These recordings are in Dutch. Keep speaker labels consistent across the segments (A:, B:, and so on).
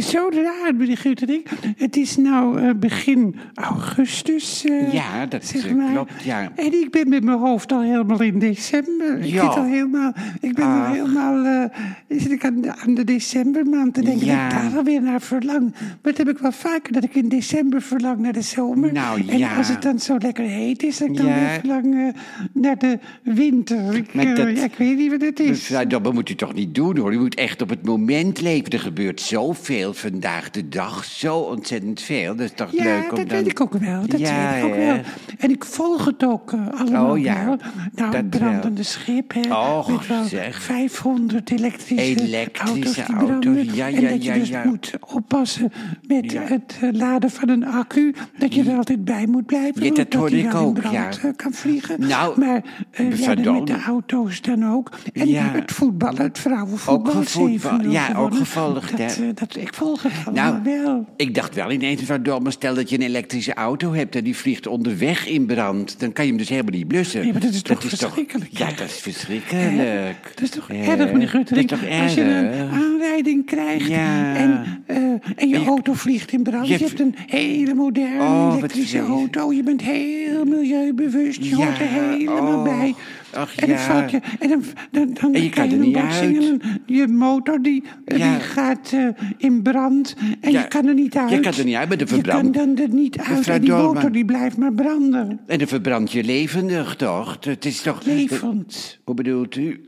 A: zo raar, meneer Guttering. Het is nou eh, begin augustus. eh,
B: Ja, dat,
A: zeg
B: eh,
A: maar.
B: klopt, ja.
A: En ik ben met mijn hoofd al helemaal in december. Ik,
B: Ja.
A: zit al helemaal, ik ben al
B: Ach.
A: helemaal. eh zit ik aan, de- aan de decembermaand te denken
B: Ja.
A: dat ik daar alweer naar verlang. Maar dat heb ik wel vaker, dat ik in december verlang naar de zomer.
B: Nou,
A: en
B: ja.
A: als het dan zo lekker heet is, dat ik dan
B: Ja.
A: weer verlang eh, naar de winter. Ik,
B: Maar
A: eh,
B: dat-
A: ja, ik weet niet wat het is.
B: Dus, nou, dat moet u toch niet doen hoor. U moet echt op het moment leven. Er gebeurt zoveel vandaag de dag. Zo ontzettend veel. Dat is toch
A: Ja,
B: leuk om
A: dat
B: dan...
A: weet ik ook wel. Dat
B: Ja,
A: weet ik ook
B: hè?
A: wel. En ik volg het ook eh, allemaal
B: Oh, ja.
A: wel. Nou, het
B: Dat wel.
A: brandende schip, hè.
B: Och,
A: met wel
B: zeg.
A: 500 elektrische,
B: Elektrische
A: auto's die
B: auto's,
A: branden.
B: ja,
A: en
B: ja,
A: dat
B: ja,
A: je dus
B: ja.
A: moet oppassen met
B: Ja.
A: het eh, laden van een accu. Dat je er altijd bij moet blijven.
B: Ja, dat
A: want
B: hoorde
A: die
B: ik
A: dan in
B: ook,
A: brand,
B: ja.
A: eh, kan vliegen.
B: Nou,
A: maar eh, ja, de- met
B: verdomme.
A: de auto's dan ook. En
B: Ja.
A: het voetbal, het vrouwenvoetbal.
B: Ook
A: heeft
B: gevoetbal-
A: 7-0
B: ja, ook
A: gewonnen.
B: gevolgd,
A: dat,
B: hè.
A: eh, dat, Ik volg het allemaal
B: Nou,
A: wel.
B: ik dacht wel ineens, verdomme, stel dat je een elektrische auto hebt en die vliegt onderweg in brand. Dan kan je hem dus helemaal niet blussen.
A: Ja, maar dat is toch verschrikkelijk,
B: Ja,
A: ja.
B: dat is verschrikkelijk.
A: Dat is toch
B: Hè?
A: erg, meneer Guttering?
B: Dat is toch
A: Als je een
B: erg?
A: aanrijding krijgt
B: Ja.
A: en, eh, en je
B: je-
A: auto vliegt in brand.
B: je
A: Je
B: hebt-
A: hebt een hele moderne
B: Oh, wat
A: elektrische
B: vrees.
A: auto. Je bent heel milieubewust. Je
B: Ja,
A: hoort er helemaal
B: oh,
A: bij.
B: ach
A: en dan
B: ja.
A: valt je... En dan, dan, dan
B: En je kan
A: krijg je
B: er
A: een
B: niet
A: botsing
B: uit.
A: en dan- je motor die,
B: Ja.
A: die gaat eh, in brand. En
B: Ja,
A: je kan er niet
B: je
A: uit.
B: kan er niet uit met de
A: Je
B: verbrand.
A: kan dan er niet uit.
B: Mevrouw
A: En die
B: Dolman.
A: motor die blijft maar branden.
B: En dan verbrand je levendig, toch? Het is toch...
A: Levend.
B: Hoe bedoelt u?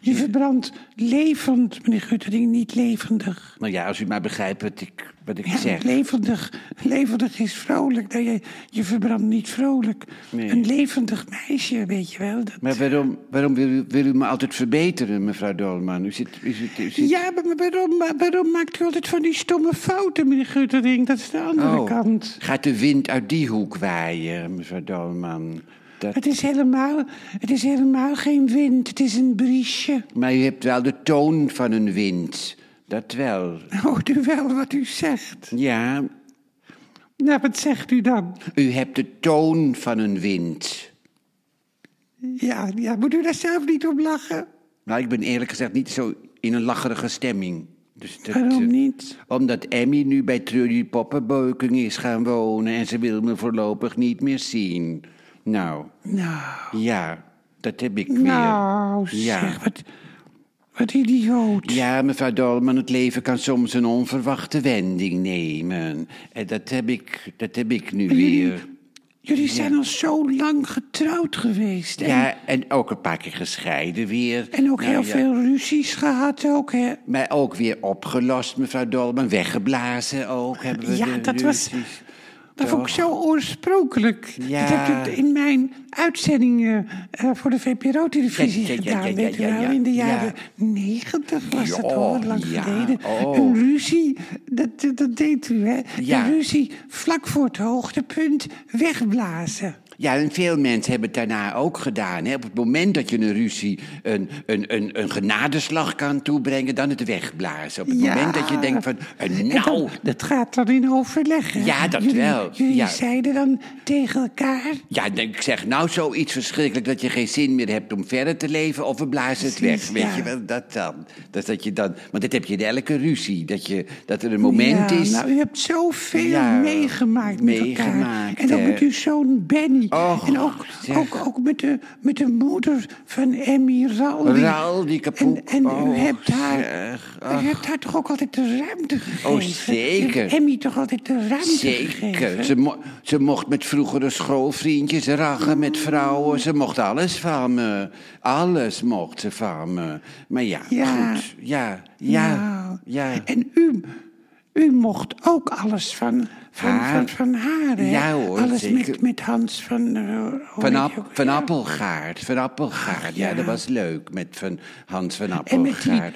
A: Je verbrandt levend, meneer Guttering, niet levendig.
B: Nou ja, als u maar begrijpt wat ik, wat ik
A: Ja,
B: zeg.
A: levendig, levendig is vrolijk. Nou, je, je verbrandt niet vrolijk.
B: Nee.
A: Een levendig meisje, weet je wel. Dat...
B: Maar waarom, waarom wil, u, wil u me altijd verbeteren, mevrouw Dolman? U zit, u zit, u zit...
A: Ja, maar maar waarom, maar waarom maakt u altijd van die stomme fouten, meneer Guttering? Dat is de andere
B: Oh,
A: kant.
B: Gaat de wind uit die hoek waaien, mevrouw Dolman? Dat...
A: Het is, helemaal, het is helemaal geen wind, het is een briesje.
B: Maar u hebt wel de toon van een wind. Dat wel.
A: Hoort u wel wat u zegt?
B: Ja,
A: Nou, wat zegt u dan?
B: u hebt de toon van een wind.
A: Ja, ja moet u daar zelf niet om lachen?
B: Nou, ik ben eerlijk gezegd niet zo in een lacherige stemming. Dus dat, eh,
A: Waarom niet?
B: Omdat Emmy nu bij Trudy Poppenbeuking is gaan wonen en ze wil me voorlopig niet meer zien. Nou,
A: Nou...
B: ja, dat heb ik weer.
A: Nou,
B: Ja.
A: zeg, wat, wat idioot.
B: Ja, mevrouw Dolman, het leven kan soms een onverwachte wending nemen. En dat heb ik, dat heb ik nu
A: jullie-
B: weer.
A: Jullie zijn al zo lang getrouwd geweest. En,
B: Ja, en ook een paar keer gescheiden weer.
A: en ook
B: Nou
A: heel
B: ja,
A: veel ruzies gehad ook, hè?
B: Maar ook weer opgelost, mevrouw Dolman. Weggeblazen ook. Hebben we
A: Ja,
B: de
A: dat was-
B: ruzies.
A: Dat vond ik zo oorspronkelijk.
B: Ja.
A: Dat heb ik in mijn uitzendingen eh, voor de VPRO-televisie
B: Ja, ja, ja,
A: gedaan,
B: ja,
A: weet u
B: ja,
A: wel.
B: ja,
A: In de
B: ja.
A: jaren negentig was
B: Ja,
A: dat al lang
B: ja,
A: geleden.
B: oh.
A: Een ruzie, dat, dat, dat deed u, hè?
B: Ja.
A: Een ruzie vlak voor het hoogtepunt wegblazen.
B: Ja, en veel mensen hebben het daarna ook gedaan. Hè. Op het moment dat je een ruzie een, een, een, een genadeslag kan toebrengen, dan het wegblazen. Op het
A: Ja.
B: moment dat je denkt van, eh,
A: En dan-
B: nou,
A: dat gaat dan in overleg. hè?
B: Ja, dat
A: jullie,
B: wel,
A: Jullie
B: ja.
A: zeiden dan tegen elkaar.
B: ja, dan- ik zeg nou zoiets verschrikkelijk dat je geen zin meer hebt om verder te leven, of we blazen het weg.
A: Precies,
B: Weet
A: ja.
B: je wel, dat dan. Dat, dat je dan. Want dat heb je in elke ruzie, dat, je, dat er een moment
A: ja,
B: is.
A: Nou, u hebt zoveel
B: Ja,
A: meegemaakt met
B: meegemaakt,
A: elkaar. En ook
B: hè.
A: met uw zoon Benny.
B: Och,
A: en ook,
B: zeg.
A: ook, ook met, de, met de moeder van Emmy Raldi.
B: Raldi Kapoek,
A: En, en u
B: och,
A: hebt haar...
B: Oh, zeg,
A: U hebt haar toch ook altijd de ruimte gegeven?
B: Oh,
A: U hebt
B: zeker.
A: Emmy toch altijd de ruimte
B: Zeker.
A: gegeven?
B: Ze, mo- ze mocht met vroegere schoolvriendjes raggen met
A: Mm.
B: vrouwen. Ze mocht alles van me. Alles mocht ze van me. Maar ja,
A: Ja.
B: goed. Ja, ja,
A: Nou,
B: ja.
A: En u, u mocht ook alles van, van,
B: Haar.
A: van, van haar, hè?
B: Ja, hoor,
A: Alles
B: zeker.
A: Met, met Hans van... eh, hoe
B: Van,
A: heet
B: App-
A: hij ook?
B: van
A: Ja.
B: Appelgaard. Van Appelgaard. Ja,
A: ja.
B: dat was leuk met van Hans van
A: En met die,
B: Appelgaard.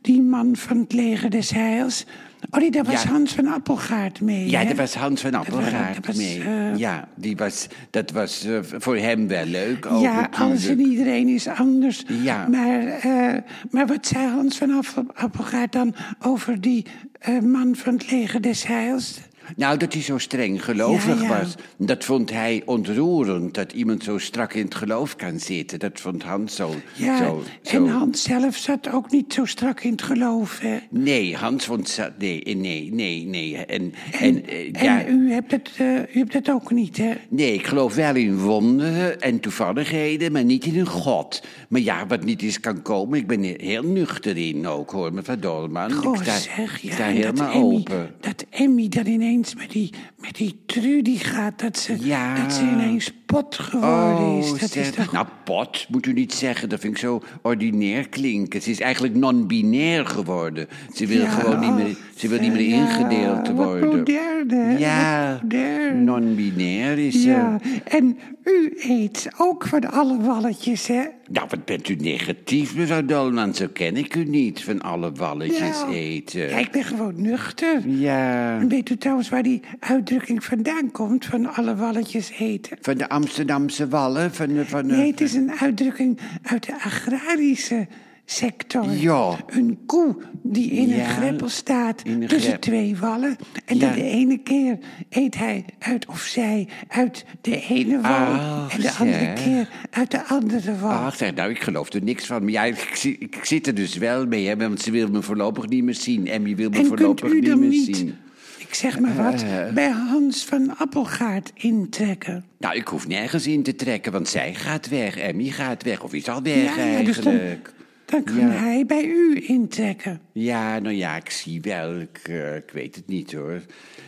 A: die man van het leger des heils. Oh, nee, daar was
B: Ja.
A: Hans van Appelgaard mee,
B: Ja,
A: hè?
B: dat was Hans van
A: was- dat
B: Appelgaard
A: was,
B: mee.
A: eh,
B: Ja, die was, dat was eh, voor hem wel leuk. Ook
A: ja, alles en
B: natuurlijk.
A: iedereen is anders.
B: Ja.
A: Maar, eh, maar wat zei Hans van Appel- Appelgaard dan over die eh, man van het leger des heils?
B: Nou, dat hij zo streng gelovig
A: Ja, ja.
B: was. Dat vond hij ontroerend, dat iemand zo strak in het geloof kan zitten. Dat vond Hans zo...
A: Ja,
B: zo, zo.
A: en Hans zelf zat ook niet zo strak in het geloof, hè?
B: Nee, Hans vond... za- Nee, nee, nee, nee. En, en, eh,
A: En
B: ja,
A: u, hebt het, eh, u hebt het ook niet, hè?
B: nee, ik geloof wel in wonderen en toevalligheden, maar niet in een god. Maar ja, wat niet is kan komen. Ik ben er heel nuchter in ook, hoor, mevrouw Dolman.
A: Goh,
B: ik sta,
A: zeg,
B: ik
A: ja,
B: sta
A: en
B: helemaal
A: dat Emmy,
B: open.
A: Dat Emmy dan ineens met die, met die Trudy gaat, dat ze,
B: Ja. Oh,
A: dat ze ineens pot geworden is. Dat is
B: zeg.
A: toch...
B: Nou, pot moet u niet zeggen. Dat vind ik zo ordinair klinken. Ze is eigenlijk non-binair geworden. Ze wil
A: Ja,
B: gewoon niet meer,
A: ach,
B: ze wil niet meer
A: ja,
B: ingedeeld te
A: Wat
B: worden.
A: moderne, hè?
B: Ja, Mm,
A: Wat modern.
B: non-binair is ze.
A: Ja, en u eet ook van alle walletjes, hè?
B: Nou, wat bent u negatief, mevrouw Dolman. Zo ken ik u niet, van alle walletjes
A: Ja.
B: eten.
A: Nou, Ja, ik ben gewoon nuchter.
B: Ja,
A: En weet u trouwens waar die uitdrukking vandaan komt, van alle walletjes eten?
B: van de Amsterdamse wallen, van de... Van de
A: Nee, het is een uitdrukking uit de agrarische sector.
B: Ja.
A: Een koe die in
B: Ja,
A: een greppel staat
B: in een
A: tussen
B: grep.
A: twee wallen. En
B: Ja.
A: dan de ene keer eet hij uit of zij uit de ene wal.
B: Ach,
A: en de andere
B: Ah, zeg.
A: keer uit de andere wal.
B: Ach, zeg, nou, ik geloof er niks van. Maar ja, ik, zi- ik zit er dus wel mee, hè, want ze wil me voorlopig niet meer zien. Emmy wil me
A: en kunt
B: voorlopig
A: u
B: niet
A: dan
B: meer
A: niet,
B: zien. Eh,
A: ik zeg maar wat, bij Hans van Appelgaard intrekken?
B: Nou, ik hoef nergens in te trekken, want zij gaat weg. Emmy gaat weg, of is al weg
A: ja, dus dan,
B: eigenlijk.
A: dan kan
B: Ja.
A: hij bij u intrekken.
B: Ja, nou ja, ik zie wel. Ik, eh, ik weet het niet, hoor.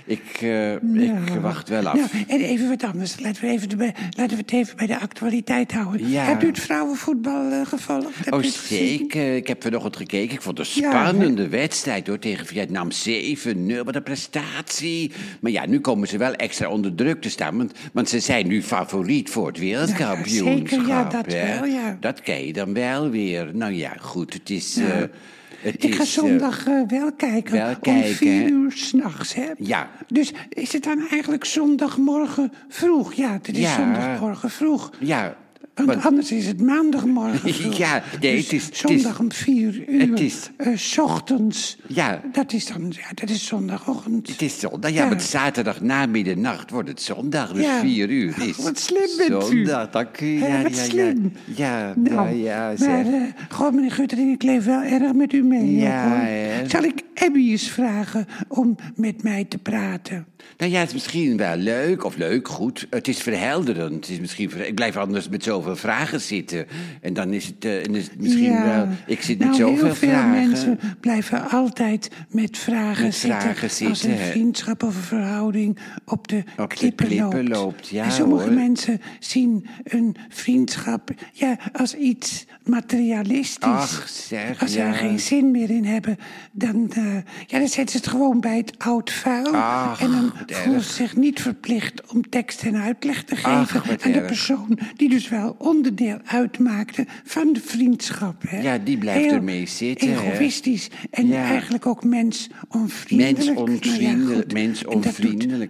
B: Ik, eh, ik
A: Ja.
B: wacht wel af.
A: Nou, en even wat anders. Laten we, even de, laten we het even bij de actualiteit houden.
B: Ja.
A: Hebt u het vrouwenvoetbal eh, gevolgd? Hebt
B: Oh,
A: u het gezien?
B: zeker. Ik heb vanochtend gekeken. Ik vond het een
A: Ja,
B: spannende wedstrijd hoor, tegen Vietnam 7-0. Wat een prestatie. Maar ja, nu komen ze wel extra onder druk te staan. Want, want ze zijn nu favoriet voor het wereldkampioenschap.
A: zeker. Ja, dat
B: hè.
A: wel, ja.
B: Dat ken je dan wel weer. Nou ja, goed. Het is... eh, het
A: Ik ga
B: is, eh,
A: zondag eh, wel kijken.
B: wel kijken,
A: om vier
B: hè?
A: uur s'nachts, hè?
B: Ja.
A: Dus is het dan eigenlijk zondagmorgen vroeg? Ja, het is
B: Ja.
A: zondagmorgen vroeg.
B: ja,
A: Want
B: want-
A: anders is het maandagmorgen vroeg.
B: Ja, nee,
A: Dus
B: het is- het is-
A: zondag om vier uur.
B: het is-
A: eh, 's ochtends.
B: Ja.
A: Dat is dan... Ja, dat is zondagochtend.
B: Het is zondag. Ja,
A: Ja.
B: want zaterdag na middernacht wordt het zondag. Dus
A: Ja.
B: vier uur
A: Ach,
B: is
A: wat slim bent u.
B: zondag. Dank u.
A: Hè,
B: Ja,
A: wat
B: ja,
A: slim.
B: Ja, ja, ja,
A: Nou,
B: ja,
A: maar
B: zeg.
A: eh, goh, meneer Guttering, ik leef wel erg met u mee.
B: Ja,
A: hoor.
B: hè?
A: Zal ik Abby eens vragen om met mij te praten?
B: Nou ja, het is misschien wel leuk, of leuk, goed. Het is verhelderend. Het is misschien ver- Ik blijf anders met zoveel vragen zitten. En dan is het, eh, en is het misschien
A: Ja.
B: wel... Ik zit
A: nou,
B: met zoveel
A: heel veel
B: vragen.
A: mensen blijven altijd met vragen,
B: Met
A: zitten,
B: vragen
A: Als
B: zitten,
A: een
B: hè?
A: vriendschap of een verhouding op de,
B: Op de
A: klippen, loopt.
B: klippen loopt, ja,
A: en sommige
B: hoor.
A: mensen zien een vriendschap ja, als iets materialistisch.
B: Ach, zeg,
A: als ze
B: ja.
A: er geen zin meer in hebben, dan, eh, ja, dan zetten ze het gewoon bij het oud vuil.
B: Ach,
A: en dan
B: wat
A: voelen
B: erg.
A: ze zich niet verplicht om tekst en uitleg te
B: Ach,
A: geven
B: wat
A: aan de
B: erg.
A: persoon die dus wel onderdeel uitmaakte van de vriendschap. Hè?
B: Ja, die blijft
A: Heel
B: ermee zitten, hè.
A: Egoïstisch en
B: Ja.
A: eigenlijk ook mensonvriendelijk.
B: Mensonvriendelijk,
A: Nou ja, goed.
B: mensonvriendelijk.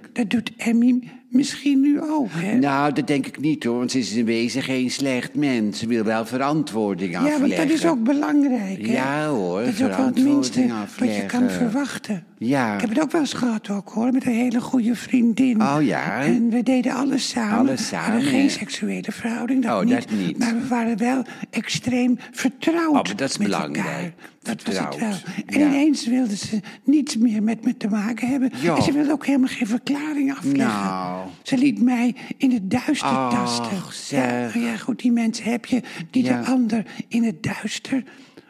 A: En dat doet, dat doet Emmy misschien nu ook. Hè?
B: Nou, dat denk ik niet hoor, want ze is in wezen geen slecht mens. Ze wil wel verantwoording
A: ja,
B: afleggen.
A: want dat is ook belangrijk. Hè?
B: Ja, hoor,
A: Dat is ook wel het minste
B: verantwoording
A: wat je kan
B: afleggen.
A: verwachten.
B: Ja.
A: Ik heb het ook wel eens gehad ook, hoor, met een hele goede vriendin.
B: Oh, ja?
A: En we deden alles samen.
B: Alles
A: We
B: samen,
A: hadden geen
B: hè?
A: seksuele verhouding, dat,
B: Oh,
A: niet.
B: dat niet.
A: Maar we waren wel extreem vertrouwd
B: Oh, maar dat is
A: met
B: belangrijk.
A: elkaar. Dat was het wel.
B: Vertrouwd,
A: En
B: ja.
A: ineens wilde ze niets meer met me te maken hebben.
B: Ja.
A: En ze wilde ook helemaal geen verklaring afleggen.
B: Nou.
A: Ze liet mij in het duister
B: Ach,
A: tasten. Ja,
B: zeg.
A: Nou ja, goed, die mensen heb je die
B: Ja.
A: de ander in het duister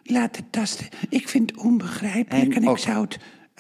A: laten tasten. Ik vind het onbegrijpelijk
B: En
A: en,
B: ook
A: ik, zou het,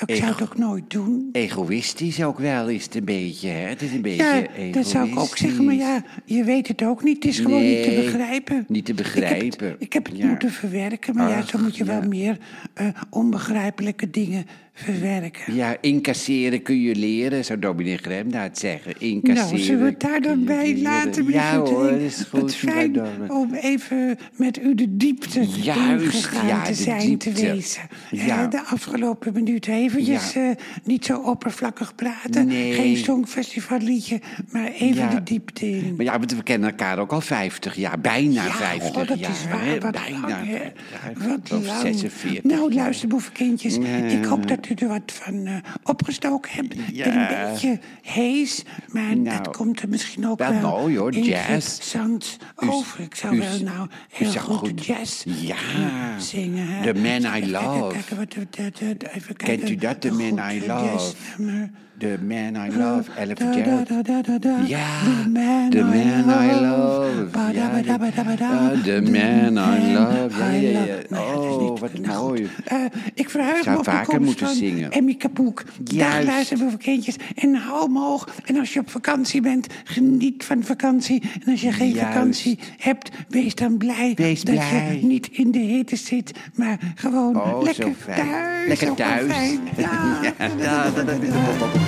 A: ik zou het ook nooit doen.
B: Egoïstisch ook wel is het een beetje, hè? Het is een beetje
A: Ja,
B: egoïstisch.
A: dat zou ik ook zeggen, maar ja, je weet het ook niet. Het is gewoon niet te
B: Nee,
A: begrijpen.
B: niet te
A: Ik heb het- Ik heb
B: begrijpen.
A: het,
B: Ja.
A: moeten verwerken, maar ja, zo
B: Ach,
A: moet je wel
B: ja.
A: meer eh, onbegrijpelijke dingen verwerken.
B: Ja, incasseren kun je leren, zou dominee Gremdaat zeggen. Incasseren.
A: Nou, zullen we het daar dan
B: kun je
A: bij
B: leren.
A: laten? meneer
B: Ja hoor, dat
A: Guttering?
B: is
A: Wat
B: goed.
A: fijn
B: mevrouw Dorman.
A: om even met u de diepte
B: Juist,
A: ingegaan
B: ja,
A: te
B: de
A: zijn, te
B: diepte.
A: wezen.
B: Ja.
A: Eh, De afgelopen minuten eventjes
B: Ja.
A: eh, niet zo oppervlakkig praten.
B: Nee.
A: Geen songfestivalliedje, maar even
B: Ja.
A: de diepte in.
B: Maar ja, want we kennen elkaar ook al 50 jaar, bijna
A: Ja,
B: 50
A: goh, dat
B: jaar.
A: is
B: hè,
A: waar. Wat
B: bijna
A: lang, hè.
B: 50 jaar. Ik
A: Wat
B: geloof
A: lang.
B: 46
A: Nou,
B: jaar.
A: luister, boevenkindjes. Ik hoop dat dat u er wat van eh, opgestoken hebt. Ik ben
B: Ja.
A: een beetje hees, maar
B: Nou,
A: dat komt er misschien ook
B: wel
A: wel,
B: mooi, hoor, jazz.
A: interessant over. Ik zou
B: u-
A: wel nou
B: u
A: heel
B: zou
A: goed,
B: goed-
A: jazz
B: Ja.
A: eh, zingen. hè.
B: The Man I
A: Even kijken,
B: Love.
A: kijken wat we- dat- dat- even kijken.
B: Kent u dat, The Man
A: Goed,
B: I
A: eh,
B: Love?
A: jazznummer.
B: The Man I Love, Ella
A: Da, da,
B: Fitzgerald.
A: da, da, da, da.
B: Ja,
A: The Man,
B: The Man I Love.
A: Love. Ba,
B: Ja,
A: da, ba, da, ba, da, ba, da.
B: Ah, The Man I Love. Ja,
A: I
B: ja, ja.
A: Love. Nou dat is
B: Oh,
A: niet-
B: wat
A: nou goed.
B: mooi.
A: Eh, ik verheug
B: Zou
A: me op de
B: vaker
A: komst
B: moeten
A: van
B: zingen.
A: Emmy Kapoek. Dag
B: Juist.
A: luisteren voor kindjes. En hou omhoog. En als je op vakantie bent, geniet van vakantie. En als je geen
B: Juist.
A: vakantie hebt, wees dan blij
B: Wees
A: dat
B: blij.
A: je niet in de hitte zit. Maar gewoon
B: Oh, zo
A: lekker
B: fijn.
A: thuis.
B: Lekker
A: Zo
B: thuis.
A: fijn. Dag.
B: Ja, da, da, da, da, da,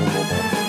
B: da, da, da.